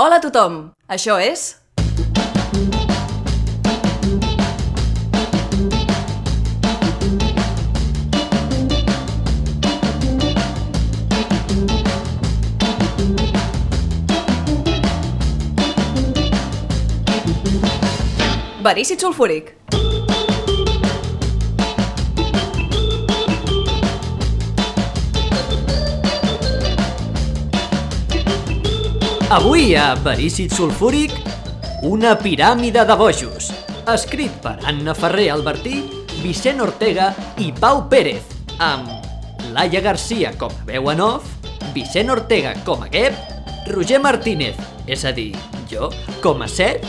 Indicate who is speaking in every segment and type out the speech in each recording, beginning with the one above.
Speaker 1: Hola a tothom! Això és... Verícid sulfúric.
Speaker 2: Avui a Verícid Sulfúric, una piràmide de bojos, escrit per Anna Ferrer Albertí, Vicent Ortega i Pau Pérez, amb Laia Garcia com a veu en off, Vicent Ortega com a Gep, Roger Martínez, és a dir, jo, com a Set,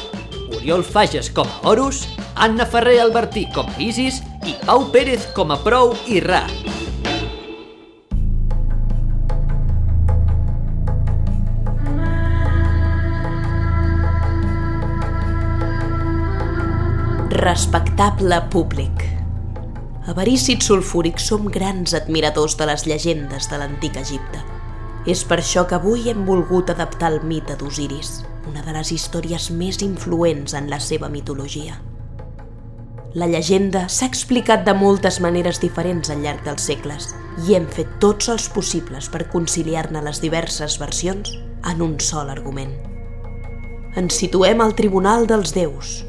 Speaker 2: Oriol Fages com a Horus, Anna Ferrer Albertí com a Isis i Pau Pérez com a Prou i Ra.
Speaker 3: Respectable públic. Avarícid sulfúric som grans admiradors de les llegendes de l'antic Egipte. És per això que avui hem volgut adaptar el mite d'Osiris, una de les històries més influents en la seva mitologia. La llegenda s'ha explicat de moltes maneres diferents al llarg dels segles i hem fet tots els possibles per conciliar-ne les diverses versions en un sol argument. Ens situem al Tribunal dels Déus,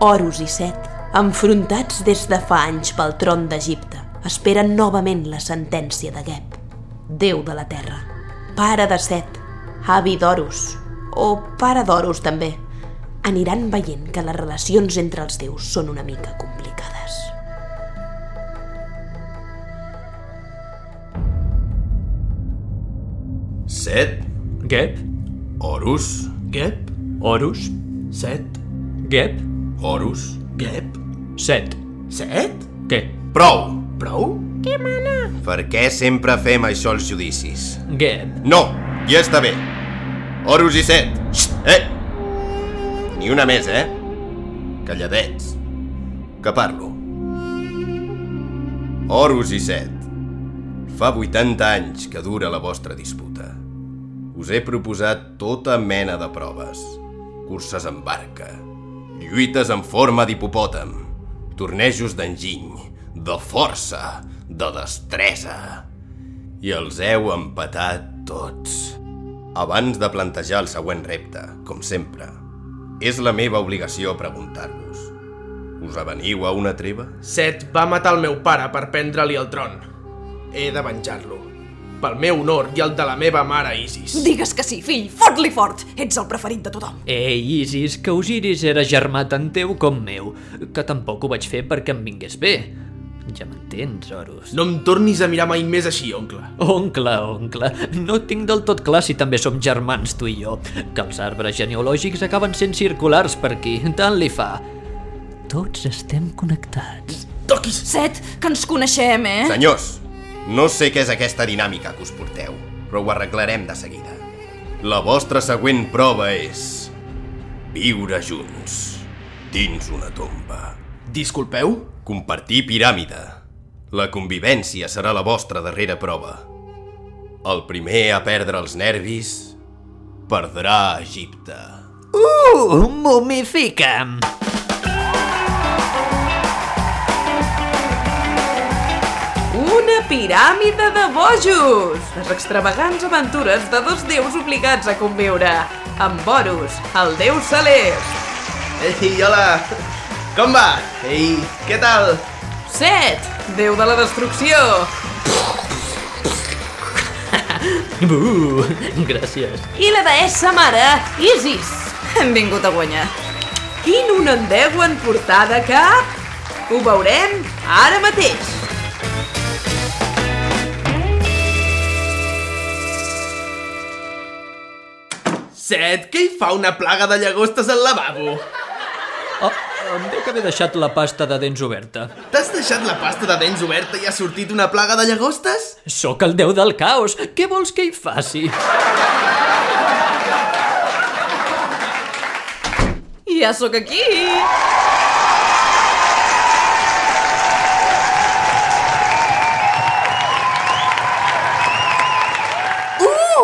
Speaker 3: Horus i Set, enfrontats des de fa anys pel tron d'Egipte, esperen novament la sentència de Geb, déu de la terra. Pare de Set, avi d'Horus, o pare d'Horus també. Aniran veient que les relacions entre els déus són una mica complicades.
Speaker 4: Set,
Speaker 2: Gep,
Speaker 4: Horus,
Speaker 5: Gep,
Speaker 2: Horus,
Speaker 5: set,
Speaker 2: Gep,
Speaker 4: Horus.
Speaker 5: Gep,
Speaker 2: Set,
Speaker 5: set?
Speaker 2: Gep,
Speaker 4: Prou!
Speaker 5: Prou?
Speaker 4: Per què sempre fem això als judicis?
Speaker 2: Gep,
Speaker 4: No, ja està bé. Horus i set. Xt, eh! Ni una més, eh? Calladets. Que parlo. Horus i set. Fa 80 anys que dura la vostra disputa. Us he proposat tota mena de proves. Curses en barca, lluites en forma d'hipopòtam, tornejos d'enginy, de força, de destresa i els heu empatat tots. Abans de plantejar el següent repte, com sempre, és la meva obligació preguntar-vos. Us aveniu a una treva?
Speaker 5: Set va matar el meu pare per prendre-li el tron. He de venjar-lo. Pel meu honor i el de la meva mare Isis.
Speaker 1: Digues que sí, fill! Fot-li fort! Ets el preferit de tothom.
Speaker 2: Ei, Isis, que Osiris era germà tant teu com meu, que tampoc ho vaig fer perquè em vingués bé. Ja m'entens, Horus.
Speaker 5: No em tornis a mirar mai més així, oncle.
Speaker 2: Oncle, oncle, no tinc del tot clar si també som germans tu i jo, que els arbres genealògics acaben sent circulars per aquí, tant li fa. Tots estem connectats.
Speaker 5: Toquis!
Speaker 1: Set, que ens coneixem, eh?
Speaker 4: Senyors, no sé què és aquesta dinàmica que us porteu, però ho arreglarem de seguida. La vostra següent prova és... Viure junts, dins una tomba.
Speaker 5: Disculpeu?
Speaker 4: Compartir piràmide. La convivència serà la vostra darrera prova. El primer a perdre els nervis perdrà Egipte.
Speaker 2: Uh, mumifica'm!
Speaker 1: Una piràmide de bojos! Les extravagants aventures de dos déus obligats a conviure. Amb Boros, el déu celest.
Speaker 5: Ei, hola! Com va? Ei, què tal?
Speaker 1: Set, déu de la destrucció.
Speaker 2: Uh, gràcies.
Speaker 1: I la deessa mare, Isis. Hem vingut a guanyar. Quin un endeu en portada cap? Ho veurem ara mateix.
Speaker 5: Set, què hi fa una plaga de llagostes al lavabo?
Speaker 2: Oh, em deu que haver deixat la pasta de dents oberta.
Speaker 5: T'has deixat la pasta de dents oberta i ha sortit una plaga de llagostes?
Speaker 2: Sóc el déu del caos, què vols que hi faci?
Speaker 1: Ja sóc aquí!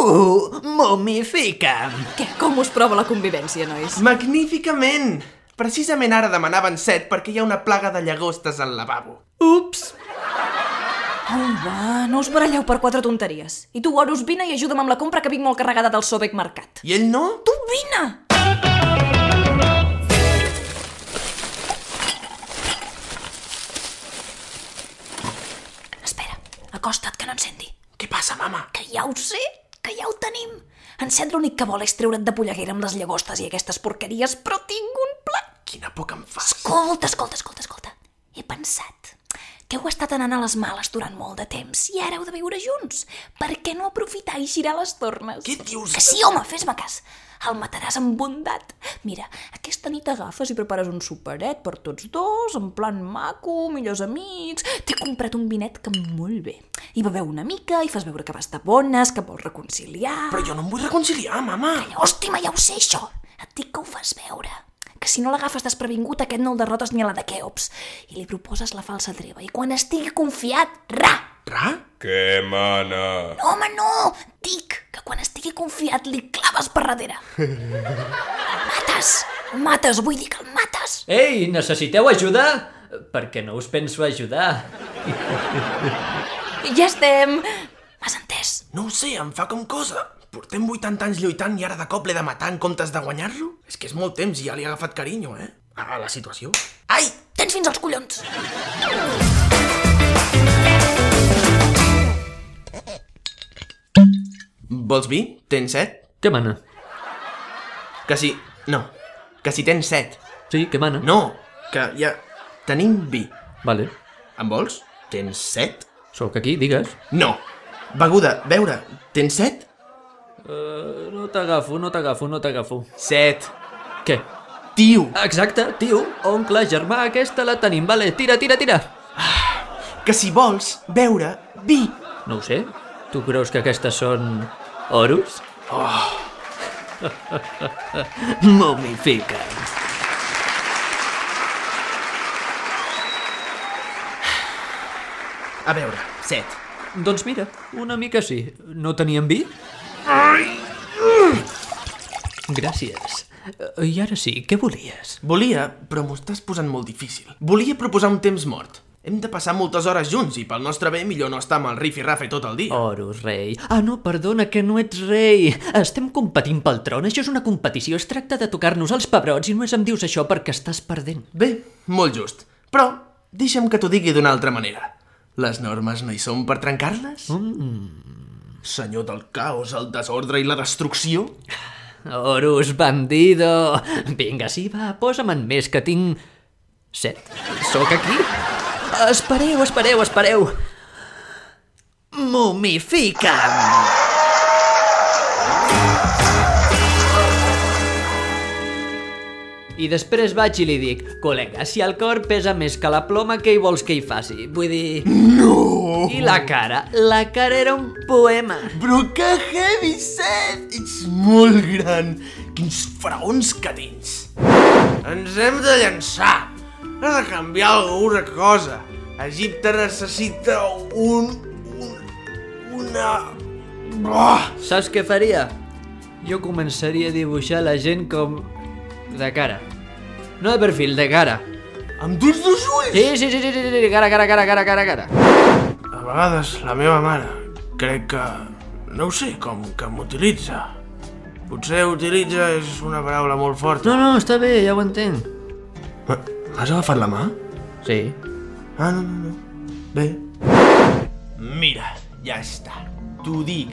Speaker 2: Uh, Momifica'm!
Speaker 6: Què? Com us prova la convivència, nois?
Speaker 5: Magníficament! Precisament ara demanaven set perquè hi ha una plaga de llagostes al lavabo.
Speaker 6: Ups! Au, va, no us baralleu per quatre tonteries. I tu, Horus, vine i ajuda'm amb la compra que vinc molt carregada del Sobec Mercat.
Speaker 5: I ell no?
Speaker 6: Tu vine!
Speaker 3: Espera, acosta't que no en senti.
Speaker 5: Què passa, mama?
Speaker 3: Que ja ho sé, que ja ho tenim. En Cent l'únic que vol és treure't de polleguera amb les llagostes i aquestes porqueries, però tinc un pla.
Speaker 5: Quina por que em fas.
Speaker 3: Escolta, escolta, escolta, escolta. He pensat que heu estat anant a les males durant molt de temps i ara heu de viure junts. Per què no aprofitar i girar les tornes?
Speaker 5: Què dius?
Speaker 3: Que sí, home, fes-me cas. El mataràs amb bondat. Mira, aquesta nit agafes i prepares un superet per tots dos, en plan maco, millors amics... T'he comprat un vinet que molt bé. Hi beveu una mica i fas veure que vas de bones, que vols reconciliar...
Speaker 5: Però jo no em vull reconciliar, mama.
Speaker 3: Hòstima, ja ho sé, això! Et dic que ho fas veure. Que si no l'agafes desprevingut, aquest no el derrotes ni a la de Keops. I li proposes la falsa treva. I quan estigui confiat, ra!
Speaker 5: Ra?
Speaker 7: Què mana?
Speaker 3: No, home, no! Dic que quan estigui confiat li claves per darrere. El mates! El mates! Vull dir que el mates!
Speaker 2: Ei, necessiteu ajuda? Perquè no us penso ajudar.
Speaker 6: Ja estem!
Speaker 3: M'has entès?
Speaker 5: No ho sé, em fa com cosa. Portem 80 anys lluitant i ara de cop l'he de matar en comptes de guanyar-lo? És que és molt temps i ja li he agafat carinyo, eh? A la situació.
Speaker 3: Ai, tens fins als collons!
Speaker 5: Vols vi? Tens set?
Speaker 2: Què mana?
Speaker 5: Que si... No. Que si tens set.
Speaker 2: Sí, què mana?
Speaker 5: No, que ja... Tenim vi.
Speaker 2: Vale.
Speaker 5: En vols? Tens set?
Speaker 2: Sóc aquí, digues.
Speaker 5: No. Beguda, beure, tens set?
Speaker 2: Uh, no t'agafo, no t'agafo, no t'agafo.
Speaker 5: Set.
Speaker 2: Què?
Speaker 5: Tio,
Speaker 2: Exacte, tio, oncle, germà, aquesta la tenim, vale, tira, tira, tira.
Speaker 5: que si vols beure vi.
Speaker 2: No ho sé, tu creus que aquestes són... oros? Oh. Momifica.
Speaker 5: A veure, set.
Speaker 2: Doncs mira, una mica sí. No teníem vi? Gràcies. Eh, I ara sí, què volies?
Speaker 5: Volia, però m'ho estàs posant molt difícil. Volia proposar un temps mort. Hem de passar moltes hores junts i pel nostre bé millor no estar amb el Riff i Rafe tot el dia.
Speaker 2: Horus, rei. Ah, no, perdona, que no ets rei. Estem competint pel tron, això és una competició. Es tracta de tocar-nos els pebrots i només em dius això perquè estàs perdent.
Speaker 5: Bé, molt just. Però deixa'm que t'ho digui d'una altra manera. Les normes no hi són per trencar-les? Mm. Senyor del caos, el desordre i la destrucció?
Speaker 2: Horus, bandido. Vinga, sí, va, posa'm en més, que tinc... Set. Sóc aquí? Espereu, espereu, espereu. Momifica'm. I després vaig i li dic, col·lega, si el cor pesa més que la ploma, què hi vols que hi faci? Vull dir... No! I la cara? La cara era un poema.
Speaker 5: Però que heavy set! Ets molt gran! Quins fraons que tens! Ens hem de llançar! Ha de canviar alguna cosa! Egipte necessita un... un... una... Oh!
Speaker 2: Saps què faria? Jo començaria a dibuixar la gent com... de cara. No de perfil, de cara.
Speaker 5: Amb tots dos ulls!
Speaker 2: Sí, sí, sí, sí, sí, sí, cara, cara, cara, cara, cara, cara.
Speaker 5: A vegades la meva mare crec que... no ho sé com que m'utilitza. Potser utilitza és una paraula molt forta.
Speaker 2: No, no, està bé, ja ho entenc.
Speaker 5: M'has agafat la mà?
Speaker 2: Sí.
Speaker 5: Ah, no, no, no. Bé. Mira, ja està. T'ho dic.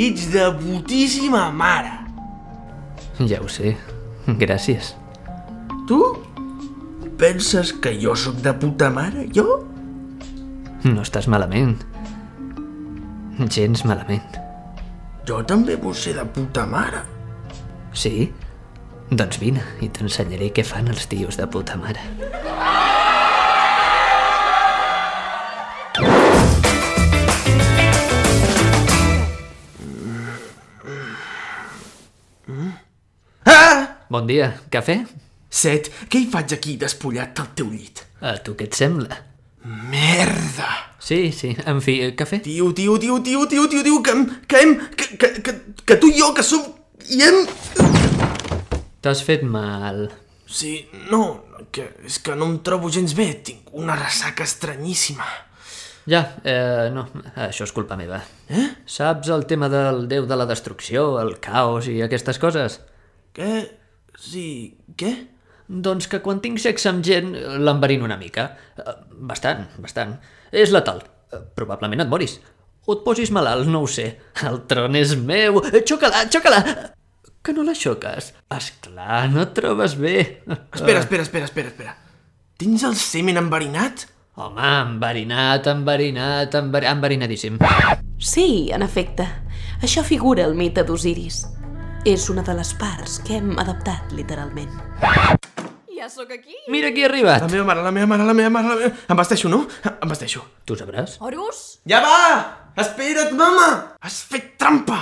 Speaker 5: Ets de putíssima mare.
Speaker 2: Ja ho sé. Gràcies.
Speaker 5: Tu? Penses que jo sóc de puta mare, jo?
Speaker 2: No estàs malament. Gens malament.
Speaker 5: Jo també vull ser de puta mare.
Speaker 2: Sí? Doncs vine i t'ensenyaré què fan els tios de puta mare.
Speaker 5: Ah!
Speaker 2: Bon dia, cafè?
Speaker 5: Set, què hi faig aquí despullat del teu llit?
Speaker 2: A tu què et sembla?
Speaker 5: Merda!
Speaker 2: Sí, sí, en fi, eh, cafè?
Speaker 5: Tio, tio, tio, tio, tio, tio, tio, que, hem- que hem... Que, que, que, que tu i jo, que som... I hem...
Speaker 2: T'has fet mal.
Speaker 5: Sí, no, que és que no em trobo gens bé. Tinc una ressaca estranyíssima.
Speaker 2: Ja, eh, no, això és culpa meva. Eh? Saps el tema del déu de la destrucció, el caos i aquestes coses?
Speaker 5: Què? Sí, què?
Speaker 2: Doncs que quan tinc sexe amb gent eh, l'enverino una mica. Eh, Bastant, bastant. És letal. Eh, Probablement et moris. O et posis malalt, no ho sé. El tron és meu. Eh, Xoca-la, xoca-la! Que no la xoques? Esclar, no et trobes bé.
Speaker 5: Espera, espera, espera, espera, espera. Tens el semen enverinat?
Speaker 2: Home, enverinat, enverinat, enver... enverinadíssim.
Speaker 3: Sí, en efecte. Això figura el mite d'Osiris. És una de les parts que hem adaptat literalment.
Speaker 6: Ja sóc aquí.
Speaker 2: Mira qui ha arribat.
Speaker 5: La meva mare, la meva mare, la meva mare, la meva... Em vesteixo, no? Em vesteixo.
Speaker 2: Tu sabràs?
Speaker 6: Horus?
Speaker 5: Ja va! Espera't, mama! Has fet trampa!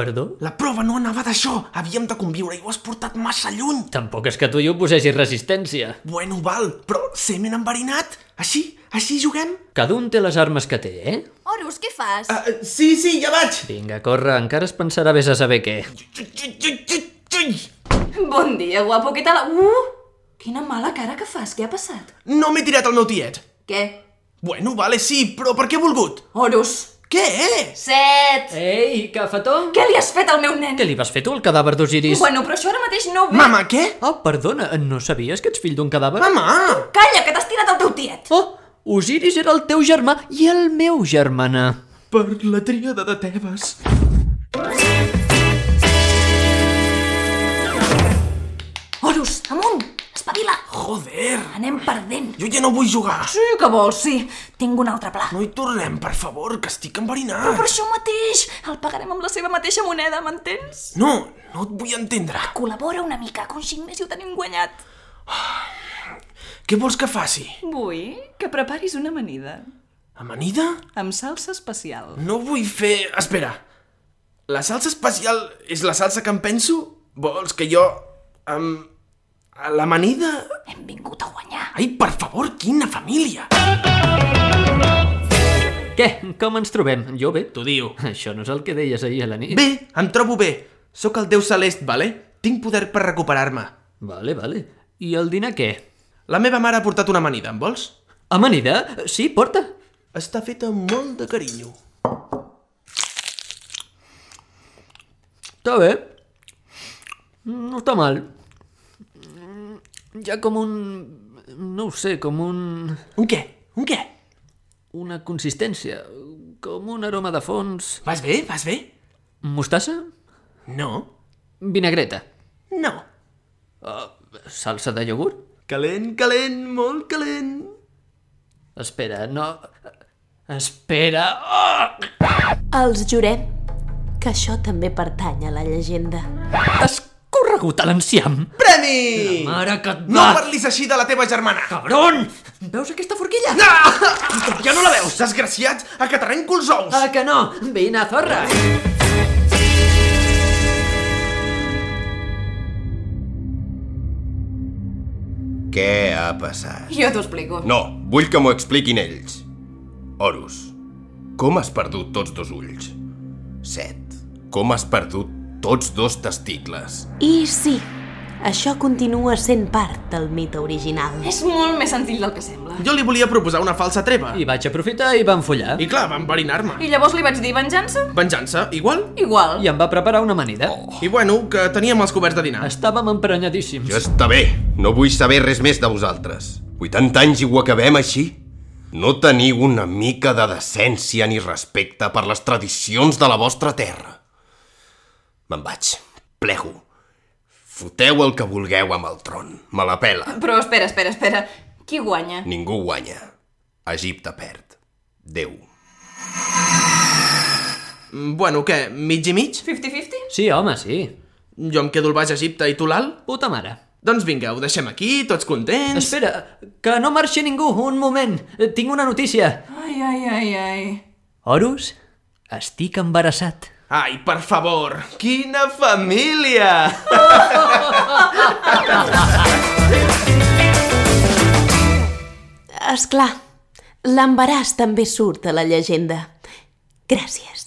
Speaker 2: Perdó?
Speaker 5: La prova no anava d'això! Havíem de conviure i ho has portat massa lluny!
Speaker 2: Tampoc és que tu i jo posessis resistència.
Speaker 5: Bueno, val, però semen enverinat? Així? Així juguem?
Speaker 2: Cada un té les armes que té, eh?
Speaker 6: Horus, què fas?
Speaker 5: Uh, sí, sí, ja vaig!
Speaker 2: Vinga, corre, encara es pensarà vés a saber què.
Speaker 6: Ah, Bon dia, guapo, què tal? Uh! Quina mala cara que fas, què ha passat?
Speaker 5: No m'he tirat el meu tiet!
Speaker 6: Què?
Speaker 5: Bueno, vale, sí, però per què he volgut?
Speaker 6: Horus!
Speaker 5: Què és?
Speaker 6: Set!
Speaker 2: Ei, cafetó!
Speaker 6: Què li has fet al meu nen?
Speaker 2: Què li vas fer tu al cadàver d'Osiris?
Speaker 6: Bueno, però això ara mateix no ve...
Speaker 5: Mama, què?
Speaker 2: Oh, perdona, no sabies que ets fill d'un cadàver?
Speaker 5: Mama!
Speaker 6: Calla, que t'has tirat el teu tiet!
Speaker 2: Oh, Osiris era el teu germà i el meu germana.
Speaker 5: Per la tríada de Tebes.
Speaker 6: Horus, amunt! Espavila!
Speaker 5: Joder!
Speaker 6: Anem perdent!
Speaker 5: Jo ja no vull jugar!
Speaker 6: Sí que vols, sí. Tinc un altre pla.
Speaker 5: No hi tornem, per favor, que estic
Speaker 6: Però per
Speaker 5: enverinat!
Speaker 6: això mateix! El pagarem amb la seva mateixa moneda, m'entens?
Speaker 5: No, no et vull entendre.
Speaker 6: Col·labora una mica, que un xic més i ho tenim guanyat.
Speaker 5: Què vols que faci?
Speaker 6: Vull que preparis una amanida,
Speaker 5: Amanida?
Speaker 6: amb salsa especial.
Speaker 5: No vull fer... Espera. La salsa especial és la salsa que em penso? Vols que jo... Amb... a L'amanida?
Speaker 6: Hem vingut a guanyar.
Speaker 5: Ai, per favor, quina família!
Speaker 2: Què? Com ens trobem? Jo bé, t'ho diu. Això no és el que deies ahir a la nit.
Speaker 5: Bé, em trobo bé. Sóc el déu celest, vale? Tinc poder per recuperar-me.
Speaker 2: Vale, vale. I el dinar què?
Speaker 5: La meva mare ha portat una amanida, en vols?
Speaker 2: Amanida? Sí, porta.
Speaker 5: Està feta amb molt de carinyo.
Speaker 2: Està bé. No està mal. Ja com un... No ho sé, com un...
Speaker 5: Un què? Un què?
Speaker 2: Una consistència. Com un aroma de fons.
Speaker 5: Vas bé? Vas bé?
Speaker 2: Mostassa?
Speaker 5: No.
Speaker 2: Vinagreta.
Speaker 5: No.
Speaker 2: Salsa de iogurt?
Speaker 5: Calent, calent, molt calent.
Speaker 2: Espera, no... Espera... Oh!
Speaker 3: Els jurem que això també pertany a la llegenda.
Speaker 2: Has corregut a l'enciam?
Speaker 5: Premi!
Speaker 2: Mare que et
Speaker 5: No
Speaker 2: va...
Speaker 5: parlis així de la teva germana!
Speaker 2: Cabron! Veus aquesta forquilla?
Speaker 5: Ah!
Speaker 2: Ja no la veus!
Speaker 5: Desgraciats, acatarrenco els ous!
Speaker 2: Ah, que no! Vine, zorra!
Speaker 4: Què ha passat?
Speaker 6: Jo t'ho explico.
Speaker 4: No, vull que m'ho expliquin ells. Horus, com has perdut tots dos ulls? Set, com has perdut tots dos testicles?
Speaker 3: I sí, això continua sent part del mite original.
Speaker 6: És molt més senzill del que sembla.
Speaker 5: Jo li volia proposar una falsa treva. I,
Speaker 2: I vaig aprofitar i vam follar. I,
Speaker 5: I clar, va enverinar-me.
Speaker 6: I llavors li vaig dir venjança?
Speaker 5: Venjança, igual?
Speaker 6: Igual.
Speaker 2: I em va preparar una amanida.
Speaker 5: I bueno, que teníem els coberts de dinar.
Speaker 2: Estàvem emprenyadíssims.
Speaker 4: Ja està bé, no vull saber res més de vosaltres. 80 anys i ho acabem així? No teniu una mica de decència ni respecte per les tradicions de la vostra terra. Me'n vaig, plego. Foteu el que vulgueu amb el tron, me la pela.
Speaker 6: Però espera, espera, espera. Qui guanya?
Speaker 4: Ningú guanya. Egipte perd. Déu.
Speaker 5: Mm, Bueno, què, mig i mig?
Speaker 6: 50-50?
Speaker 2: Sí, home, sí.
Speaker 5: Jo em quedo al Baix Egipte i tu l'alt?
Speaker 2: Puta mare.
Speaker 5: Doncs vinga, ho deixem aquí, tots contents.
Speaker 2: Espera, que no marxi ningú, un moment. Eh, Tinc una notícia.
Speaker 6: Ai, ai, ai, ai.
Speaker 2: Horus, estic embarassat.
Speaker 5: Ai, per favor, quina família!
Speaker 3: És clar,
Speaker 6: L'embaràs també surt a la llegenda. Gràcies.